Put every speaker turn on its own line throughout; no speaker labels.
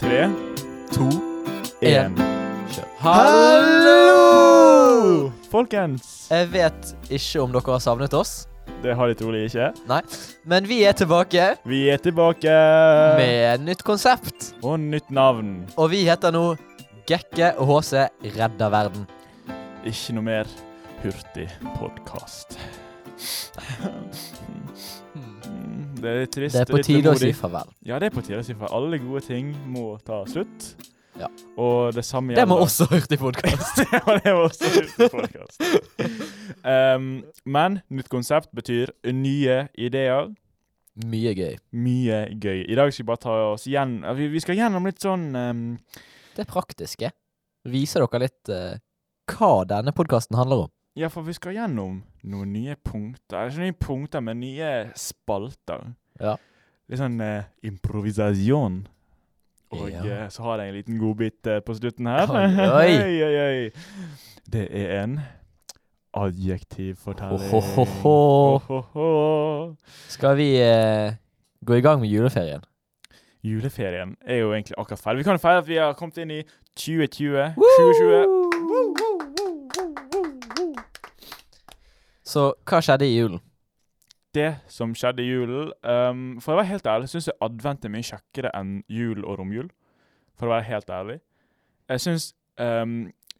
Tre, to, én.
En. Hallo!
Folkens!
Jeg vet ikke om dere har savnet oss,
Det har de trolig ikke.
men vi er tilbake
Vi er tilbake
med nytt konsept.
Og nytt navn.
Og vi heter nå Gekke og HC redder verden.
Ikke noe mer hurtig podkast. Mm, Det er trist.
Det er på
litt
tide å si
vemodig.
farvel.
Ja, det er på tide å si for alle gode ting må ta slutt.
Ja.
Og det samme
Det
gjelder
må også hørt i podkast.
Ja, det var også siste podcast. um, men nytt konsept betyr nye ideer.
Mye gøy.
Mye gøy. I dag skal vi bare ta oss igjen ja, Vi, vi skal gjennom litt sånn um,
Det praktiske viser dere litt eh, hva denne podkasten handler om.
Ja, for vi skal gjennom noen nye punkter. Ikke nye punkter, men nye spalter.
Ja.
Litt sånn eh, improvisasjon. Og
Ja.
eh, så har jeg en liten godbit eh, på slutten her.
Oi, oi.
oi, oi, oi. Det er en adjektivfortelling.
Ohohoho.
Ohoho.
Skal vi eh, gå i gang med juleferien?
Juleferien er jo egentlig akkurat ferdig. Vi kan jo feire at vi har kommet inn i 2020. 2020.
Woo! Så hva skjedde i julen?
Det som skjedde i julen ehm, For å være helt ærlig syns jeg advent er mye kjekkere enn jul og romjul. For å være helt ærlig. Jeg syns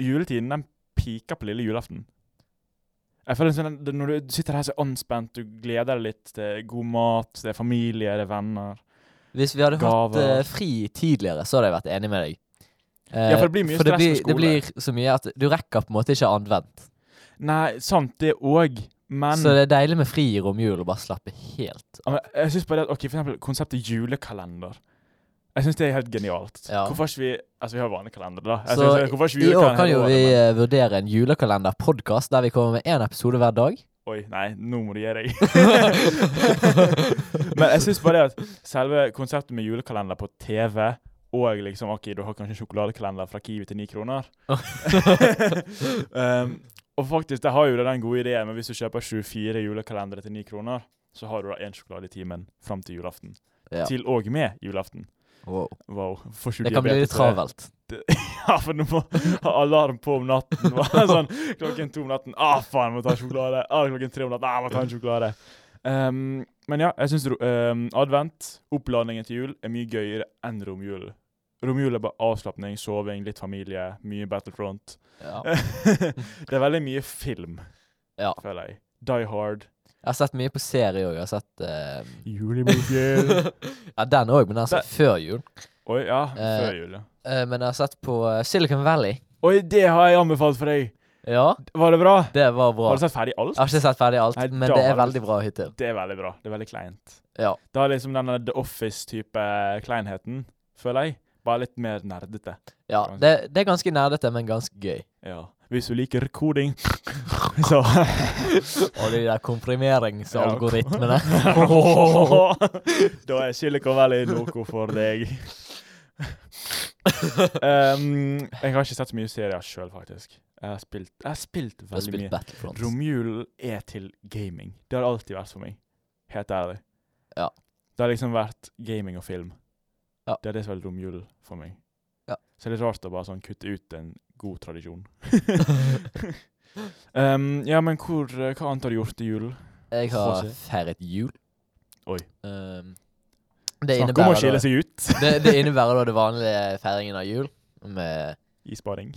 juletiden den piker på lille julaften. Jeg føler sånn, at Når du sitter her så anspent, du gleder deg litt til god mat, det er familie, det er venner.
Hvis vi hadde hatt
Gaver.
eh, fri tidligere, så hadde jeg vært enig med deg. Eh,
Ja, for det blir mye
for det
stress
blir,
på skole.
Det blir så mye at du rekker på en måte ikke anvendt.
Nei, sant, det òg, men
så det er deilig med fri i romjulen og bare slappe helt
Ja, men Jeg synes bare det at, ok, for eksempel konseptet julekalender. Jeg synes det er helt genialt.
Ja.
Hvorfor ikke vi Altså, vi har vanlig kalender, da. Jeg
Så
synes, hvorfor ikke
I år
julekalender
kan jo
hele
vi
året,
eh, vurdere en julekalender-podkast der vi kommer med én episode hver dag.
men- Oi, nei, nå må du gi deg. men jeg synes bare det at selve konseptet med julekalender på TV og liksom, ok, du har kanskje en sjokoladekalender fra Kiwi til ni kroner. um, og faktisk, det har jo det den gode ideen, men hvis du kjøper 24 julekalendere til ni kroner, så har du da én sjokolade i timen fram til julaften.
Ja.
Til og med julaften.
Wow.
Wow. Får ikke
Det kan bli
diabetes
litt
av det.
travelt.
Ja, for du må ha alarm på om natten. Bare sånn klokken to om natten. Ah, faen, må ta sjokolade. Ah, klokken tre om natten. Ah, må ta en sjokolade. Um, men ja, jeg syns um, advent, oppladningen til jul, er mye gøyere enn romjulen. Romjul er bare avslapning, soving, litt familie, mye Battlefront.
Ja.
det er veldig mye film,
Ja.
føler jeg. Die Hard.
Jeg har sett mye på serie òg. Jeg har sett eh,
Julemuffins.
Ja, den òg, men den har jeg sett før jul.
Oi, ja.
Eh.
Før jul, ja.
Eh, men jeg har sett på eh, Silicon Valley.
Oi, det har jeg anbefalt for deg.
Ja,
Var det bra?
det var bra.
Har du sett ferdig alt?
Jeg har ikke sett ferdig alt,
Nei,
men
da
det er
har du-
veldig bra hittil.
Det er veldig bra. Det er veldig kleint.
Ja.
Det har liksom denne The Office-type kleinheten, føler jeg. Bare litt mer nerdete.
Ja,
Kan man si.
det, det er ganske nerdete, men ganske gøy.
Ja. Hvis du liker koding, så
Og de der komprimeringsalgoritmene.
Da er Silicon Valley noe for deg. um, jeg har ikke sett så mye serier sjøl, faktisk. Jeg har spilt, jeg har spilt
Jeg har
veldig
spilt
mye.
Battlefront.
Romjulen er til gaming. Det har det alltid vært for meg. Helt ærlig.
Ja.
Det har liksom vært gaming og film.
Ja.
Det er det som er romjulen for meg.
Ja.
Så det er litt rart å bare sånn kutte ut en god tradisjon. um, ja, men hvor, eh, hva annet har du gjort i julen?
Jeg har
Håse.
feiret jul.
Oi.
Um, det,
Snakk om å
innebærer
skille
da,
seg ut
det, det innebærer da det vanlige feiringen av jul med
i sparing.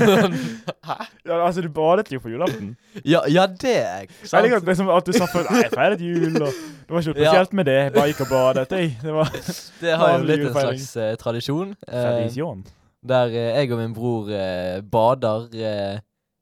Ja, altså, du badet jo på julaften.
Ja, ja det er jeg.
Jeg
sant?
liker at liksom at du sa før Nei, jeg feiret jul, og det var ikke noe
Ja.
spesielt med det. Jeg bare gikk og badet, jeg. Det var
Det har jo
vanlig
blitt en
julefeiring.
slags eh, tradisjon. eh,
tradisjon.
der eh, jeg og min bror eh, bader eh,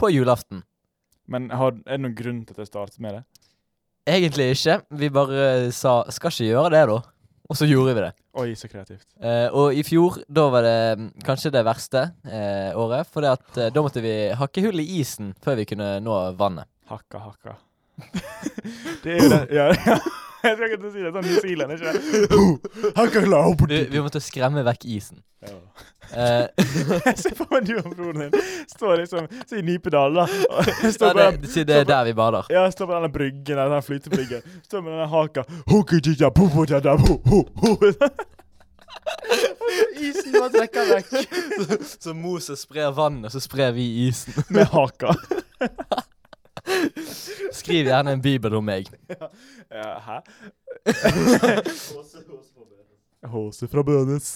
på julaften.
Men har, er det noen grunn til at jeg startet med det?
Egentlig ikke. Vi bare eh, sa 'skal ikke gjøre det', da. Og så gjorde vi det.
Oi, så kreativt.
Eh, og i fjor, da var det mm, kanskje det verste eh, året. For det at, eh, da måtte vi hakke hull i isen før vi kunne nå vannet.
Hakka, hakka. det er jo det. Ja, ja. Jeg skal ikke til å si det sånn New Zealand, ikke Hakka laub.
Vi, vi måtte skremme vekk isen.
Jeg
Eh,
ser for meg du og broren din står liksom så i Nipedal, da. og
ja,
Står på
det,
den,
si det er der vi bader.
ja, står på denne bryggen, eller den flytebryggen. Står med denne haka. Hukujija, bubujada, bu, hu, hu.
Vi bare trekker vekk. Så, så Moses sprer vann, og så sprer vi isen.
med haka.
Skriv gjerne en bibel om meg.
Ja, hæ? Håse fra Bønes.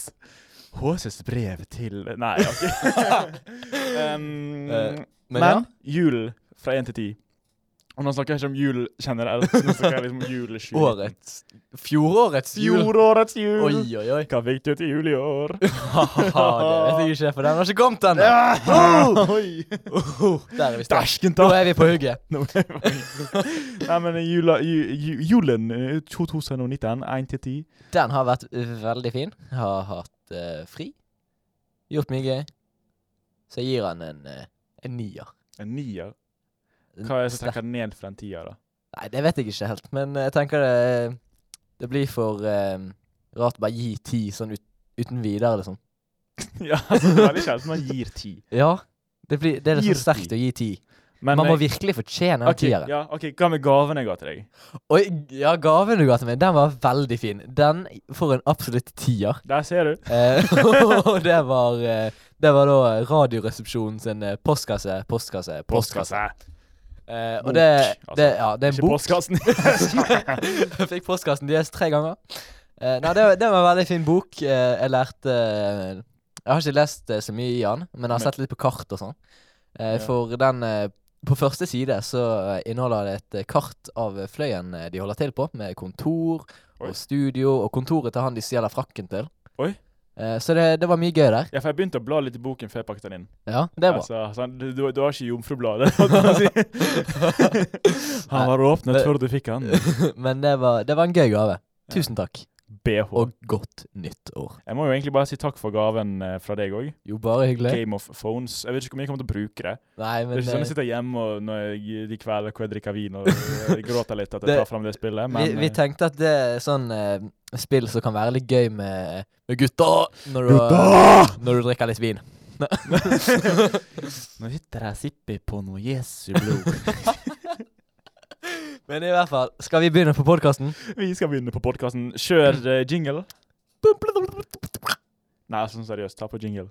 Håses brev til Nei, OK. um,
Eh,
men
Men, ja.
jul fra 1 til 10. Og nå snakker jeg ikke om jul generelt. Nå snakker jeg liksom om jul 2019.
Årets Fjorårets jul.
Fjorårets jul.
Oi, oi, oi.
Hva fikk du til jul i år?
Haha, det vet jeg ikke, for den har ikke kommet ennå.
Oi.
Oh, der er vi sterke.
Dæsken
Nå
ta!
er vi på hugget.
Nei, men jula, ju, ju, julen eh, 2019, 1 til 10.
Den har vært veldig fin. Har hatt eh, fri. Gjort mye gøy. Så jeg gir han en, eh, en nier.
En nier. Hva er det som
Sterk-
trekker den ned fra en tier, da?
Nei, det vet jeg ikke helt, men jeg tenker det eh, Det blir for eh, rart å bare gi ti sånn ut, uten videre, liksom.
ja, altså, det er veldig sjelden man gir ti.
Ja. Det, blir, det er
Gir
liksom sterkt
ti.
å gi ti.
Men,
Man må
eh,
virkelig fortjene den
ok,
tieren.
ja, OK, hva med gaven jeg ga til deg?
Oi, ja, gaven du ga til meg, den var veldig fin. Den får en absolutt tier.
Der ser du.
Eh, Og det var eh, Det var da Radioresepsjonen sin eh, postkasse, postkasse, postkasse. Eh, og
Bok,
det,
altså.
det Ja, det er en
Ikke
bok.
postkassen.
Jeg fikk postkassen deres tre ganger. Eh, nei, det, var- det var en veldig fin bok. Eh, jeg lærte eh, Jeg har ikke lest eh, så mye i den, men jeg har
Men-
sett litt på kart og sånn. Eh,
Ja.
For den eh, På første side så eh, inneholder det et eh, kart av eh, fløyen eh, de holder til på, med kontor
Oi.
og studio, og kontoret til han de stjeler frakken til.
Oi.
Eh, så det, det var mye gøy der.
ja, for jeg begynte å bla litt i boken før jeg pakket den inn.
Ja, det er bra.
Altså, sånn, du, du, du har ikke jomfrubladet. holdt jeg på å si. han var åpnet
det-
før du fikk han.
Men det var, det var en gøy gave.
Ja.
Tusen takk,
BH.
og godt nytt år.
Jeg må jo egentlig bare si takk for gaven eh, fra deg òg.
Jo, bare hyggelig.
Game of Phones. Jeg vet ikke hvor mye jeg kommer til å bruke det.
Nei, men
det er ikke sånn
eh,
jeg sitter hjemme og når jeg, de kvelder hvor jeg drikker vin og eh, gråter litt at jeg
Det-
tar fram det spillet, men
vi, vi
eh,
tenkte at det er sånn eh, spill som kan være litt gøy med, med gutta når du, når du drikker litt vin.
Nå sitter jeg og sipper på noe Jesu blod.
Men i hvert fall, skal vi begynne på podkasten?
vi skal begynne på podkasten. Kjør eh, jingle. Nei, altså, sånn seriøst, ta på jingle.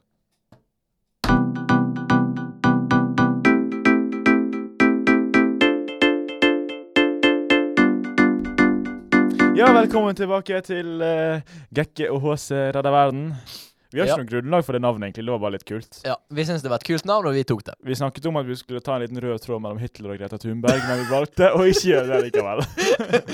Ja, velkommen tilbake til eh, Gekke og HC redder verden. Vi har ikke
Ja.
noe grunnlag for det navnet, egentlig. Det var bare litt kult.
Ja, vi syns det var et kult navn, og vi tok det.
Vi snakket om at vi skulle ta en liten rød tråd mellom Hitler og Greta Thunberg, men vi valgte å ikke gjøre det likevel.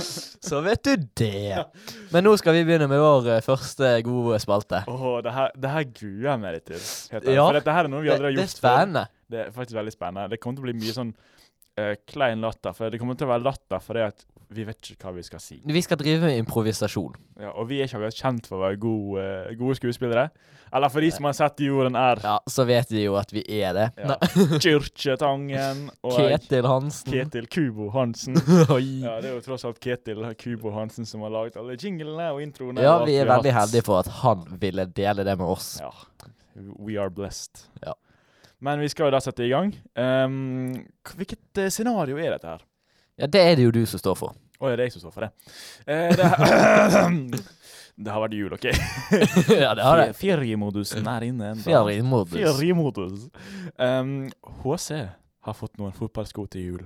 Så vet du det. Men nå skal vi begynne med vår eh, første gode spalte.
Åh, det, her, det her gruer jeg meg litt til. Heter ja.
Ja.
For dette her er noe vi
Det,
aldri har
det er
gjort før.
spennende.
Det er faktisk veldig spennende. Det kommer til å bli mye sånn eh, klein latter. For det kommer til å være latter fordi at vi vet ikke hva vi skal si.
Vi skal drive med improvisasjon.
Ja, og vi er ikke akkurat kjent for å være gode, eh, gode skuespillere. Eller for de som har sett Jorden er.
Ja, så vet vi jo at vi er det.
Ja. Kyrkjetangen og
Ketil Hansen.
Ketil Kubo Hansen.
Oi.
Ja, det er jo tross alt Ketil Kubo Hansen som har laget alle jinglene og introene.
Ja,
og alt
vi er
har
veldig
hatt.
heldige for at han ville dele det med oss.
Ja. We are blessed.
Ja.
Men vi skal jo da sette i gang. Ehm, k- hvilket eh, scenario er dette her?
Ja, det er det jo du som står for.
Å, det er jeg som står for det. Eh, det, har- det har vært jul, OK?
ja, det har det.
Fe- Feriemodusen er inne. enda.
Fjerrimodus.
Feriemodus. Ehm, HC har fått noen fotballsko til jul,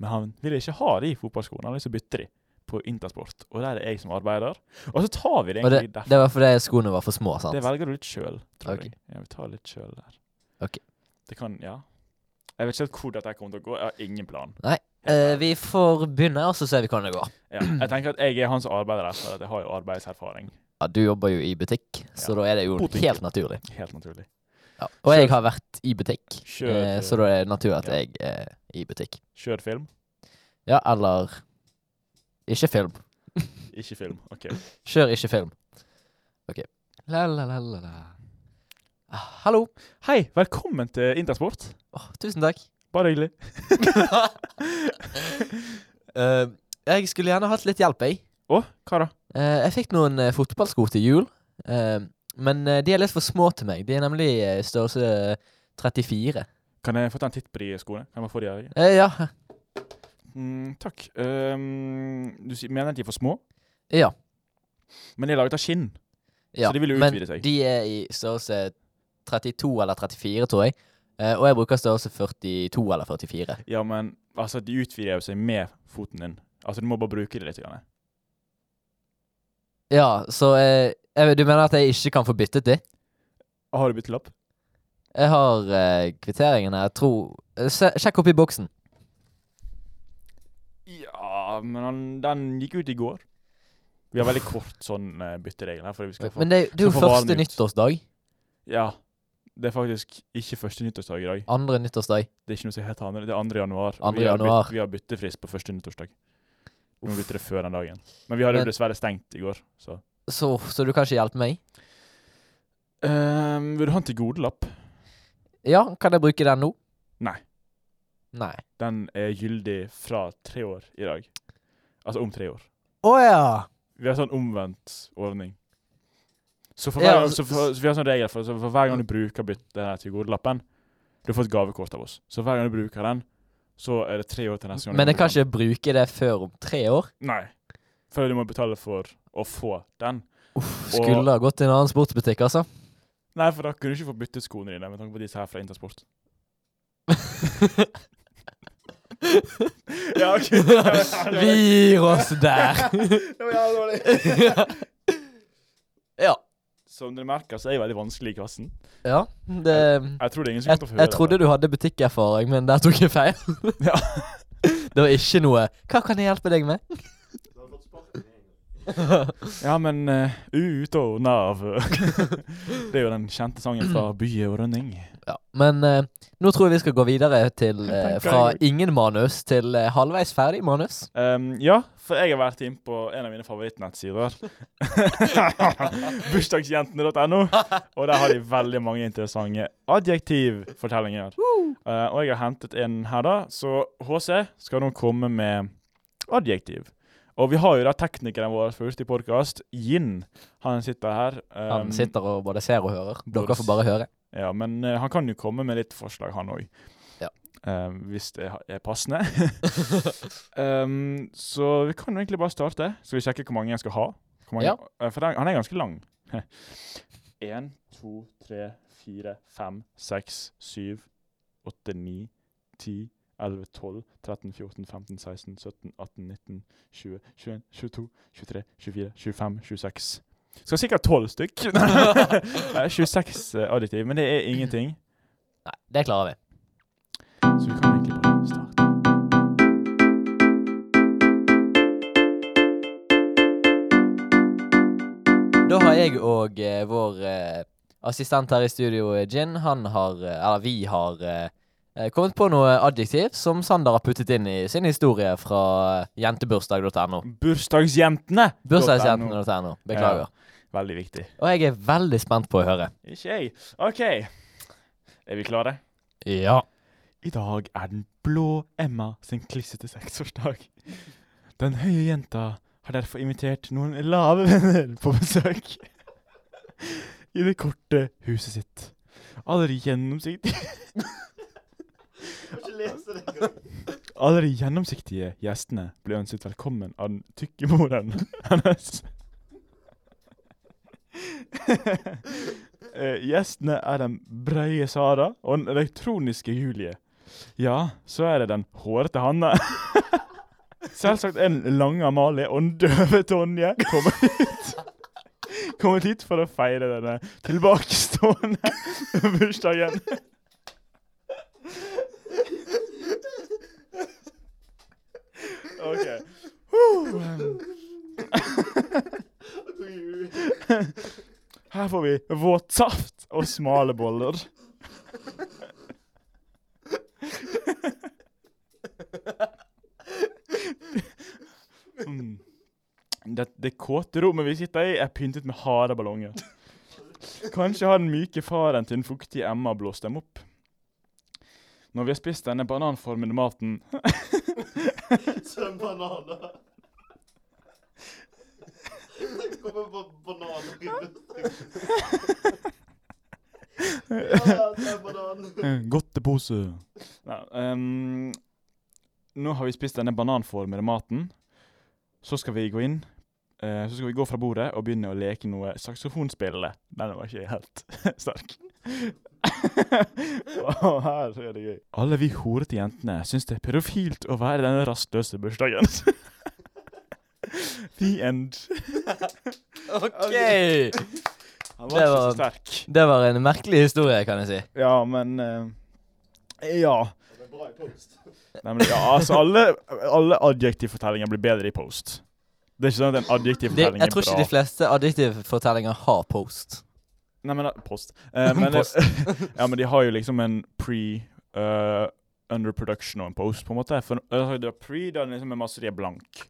men han ville ikke ha de fotballskoene. Han har lyst til å bytte de på Intersport, og der er det jeg som arbeider. Og så tar vi det
Og det,
egentlig derfra.
det var fordi skoene var for små, sant?
Det velger du litt sjøl, tror
Ok.
jeg. Ja, vi tar litt sjøl der.
Ok.
Det kan Ja. Jeg vet ikke helt hvor dette kommer til å gå. Jeg har ingen plan.
Nei,
Helt
Eh,
ærlig.
vi får begynne, og så ser vi hvordan det går.
ja. Jeg tenker at jeg er han som arbeider her, for at jeg har jo arbeidserfaring.
Ja, Du jobber jo i butikk, så
Ja.
da er det jo
Butikk.
helt naturlig.
Helt naturlig.
Ja. Og jeg har vært i butikk,
Kjør,
eh, så
eh,
da er det naturlig at
Ja.
jeg er i butikk.
kjør film.
Ja, eller Ikke film.
Ikke film. OK.
Kjør ikke film. OK. La-la-la-la. Ah, Hallo.
Hei, velkommen til Intersport.
Åh, tusen takk.
Bare hyggelig.
Eh, jeg skulle gjerne hatt litt hjelp, jeg.
Å, hva da?
Eh, jeg fikk noen eh, fotballsko til jul, eh, men eh, de er litt for små til meg. De er nemlig eh, størrelse eh, 34.
Kan jeg få ta en titt på de skoene? Kan jeg bare få de her?
Eh, ja.
Mm, takk. Ehm, du sier- mener at de er for små?
ja.
Men de er laget av skinn. Så de vil jo utvide seg.
Men de er i størrelse 32 eller 34, tror jeg. Eh, og jeg bruker størrelse 42 eller 44.
Ja, men altså, de utvider jo seg med foten din. Altså, du må bare bruke det litt. Grann.
Ja, så eh, jeg, Du mener at jeg ikke kan få byttet de?
Har du byttelapp?
Jeg har eh, kvitteringen her. Jeg tror eh, se, Sjekk oppi boksen.
Ja, men han, den gikk ut i går. Vi har veldig kort sånn uh, bytteregel her. Fordi vi skal få,
Men det, det er
skal
jo
få varen
første
ut.
nyttårsdag.
ja, det er faktisk ikke første nyttårsdag i dag.
Andre nyttårsdag.
Det er ikke noe som heter andre. Det er 2. januar.
2.
vi, har
januar.
Bytt, vi har byttefrist på første nyttårsdag. Vi må bytte det før den dagen. Men vi hadde
Men-
jo dessverre stengt i går, så
Så, så du kan ikke hjelpe meg?
Ehm, Vil du ha en til gode lapp?
Ja, kan jeg bruke den nå?
Nei.
Nei.
Den er gyldig fra tre år i dag. Altså om tre år.
Å ja.
Vi har sånn omvendt ordning. Så, for
Ja,
hver, gang-
altså-
så, for, så vi har sånn regel for, så for hver gang du bruker bytte denne til godelappen, du får et gavekort av oss. Så hver gang du bruker den, så er det tre år til neste gang. du
Men jeg kan
bruker den.
ikke bruke det før om tre år?
Nei. For du må betale for å få den.
Uff, skulle ha gått til en annen sportsbutikk, altså.
Nei, for da kunne du ikke få byttet skoene dine med tanke på disse her fra Intersport. ja, ok.
Vi gir oss der.
Det var jævlig dårlig.
ja.
Som dere merker, så er jeg veldig vanskelig i klassen.
ja. Det
Jeg tror det er ingen som
jeg,
kommer til å få høre
jeg trodde du hadde butikkerfaring, men der tok jeg feil.
Ja.
det var ikke noe Hva kan jeg hjelpe deg med?
Ja, men eh, ut og nav Det er jo den kjente sangen fra Bye og Rønning.
Ja, men eh, nå tror jeg vi skal gå videre til
Jeg
eh,
tenker
fra
jeg
ingen manus til eh, halvveis ferdig manus.
Ehm, ja, for jeg har vært inne på en av mine favorittnettsider. Bursdagsjentene.no. Og der har de veldig mange interessante adjektivfortellinger. Eh, og jeg har hentet en her, da. Så HC skal nå komme med adjektiv. Og vi har jo da teknikeren vår for Ursti podkast, Yin. Han sitter her.
Han
Ehm,
sitter og både ser og hører.
både
Dere får bare høre.
Ja, men eh, han kan jo komme med litt forslag, han òg.
Ja.
Eh, hvis det ha- er passende. Ehm, så vi kan jo egentlig bare starte. Skal vi sjekke hvor mange jeg skal ha? Hvor mange,
Ja.
eh, for den, han er ganske lang. Én, to, tre, fire, fem, seks, syv, åtte, ni, ti, elleve, tolv, 13, 14, 15, 16, 17, 18, 19, 20, 21, 22, 23, 24, 25, 26. Skal sikkert tolv stykk. Eh, Nei, 26 adjektiv, men det er ingenting.
Nei, det klarer vi.
Så vi kan egentlig bare starte.
Da har jeg og eh, vår eh, assistent her i studio, eh, Jin, han har eh, Eller vi har eh, eh, kommet på noe adjektiv som Sander har puttet inn i sin historie fra eh, jentebursdag.no.
Bursdagsjentene!
Bursdagsjentene.no. Beklager.
Veldig viktig.
Og jeg er veldig spent på å høre.
Ikke jeg. OK. Er vi klare?
Ja.
I dag er den blå Emma sin klissete seksårsdag. Den høye jenta har derfor invitert noen lave venner på besøk i det korte huset sitt. Allerede gjennomsiktige Allerede gjennomsiktige gjestene ble ønsket velkommen av den tykke moren hennes. Eh, Gjestene er den breie Sara og den elektroniske Julie. Ja, så er det den hårete Hanne. Selvsagt en lang Amalie og en døve Tonje kommer hit. Kommet hit for å feire denne tilbakestående bursdagen. OK. Her får vi våt saft og smale boller. Mm. Det, det kåte rommet vi sitter i, er pyntet med harde ballonger. Kanskje har den myke faren til den fuktige Emma blåst dem opp. Når vi har spist denne bananformede maten
Sen bananer. Det kommer bara bananer i luften. Ja, sen bananer.
Eh, Godtepose. Nei, ehm, nå har vi spist denne bananformede maten. Så skal vi gå inn Eh, så skal vi gå fra bordet og begynne å leke noe saksofonspillende. Den var ikke helt sterk. Å, her er det gøy. Alle vi horete jentene syns det er pedofilt å være denne rastløse bursdagen. The end.
OK!
Han
Det
var ikke
var-
så sterk.
Det var en merkelig historie, kan jeg si.
Ja, men eh, Ja.
Det er bra i post.
Nemlig, ja, altså alle, alle adjektivfortellinger blir bedre i post. Det er ikke sånn at en
De,
adjektivfortelling
jeg
er
tror ikke
bra.
de fleste adjektivfortellinger har post.
Nei, men da- post. Eh, men,
Post.
ja, men de har jo liksom en pre, eh, under production og en post, på en måte. For eh, det er pre, da er det liksom en masse de er blank.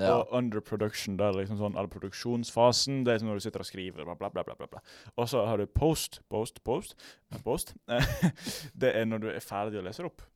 Ja.
Og under production, da er det liksom sånn eller produksjonsfasen, det er liksom når du sitter og skriver, bla, bla, bla, bla, bla. bla. Og så har du post, post, post, post. Eh, det er når du er ferdig å lese det opp.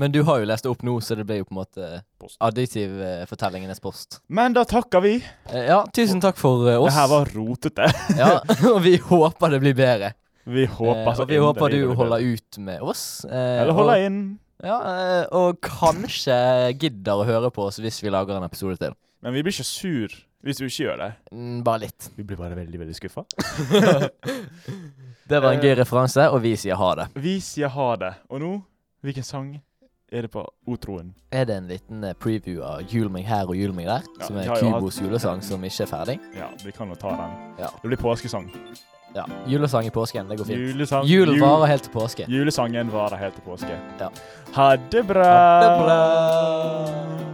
Men du har jo lest det opp nå, så det ble jo på en måte
Post.
adjektivfortellingenes post.
Men da takker vi.
Eh, Ja, tusen takk for eh,
Det
oss.
her var rotete.
ja, og vi håper det blir bedre.
Vi håper
Eh,
så
og vi håper
inderlig
du
det blir
holder ut med oss. eh,
Eller
og-
holde inn.
Ja, eh, og kanskje gidder å høre på oss hvis vi lager en episode til.
Men vi blir ikke sur hvis du ikke gjør det.
Mm, Bare litt.
Vi blir bare veldig, veldig skuffa.
Det var en
Eh.
gøy referanse, og vi sier ha det.
Vi sier ha det. Og nå, hvilken sang er det på otroen?
Er det en liten eh, preview av Jul meg her og Jul meg der,
Ja,
som
vi
er
har jo hatt-
Kubos julesang som ikke er ferdig?
Ja, vi kan jo ta den.
Ja.
Det blir påskesang.
Ja. Julesang i påsken, det går fint.
Julesang.
Julen
jul-
varer helt til påske.
Julesangen varer helt til påske.
Ja.
Ha det bra.
Ha det bra.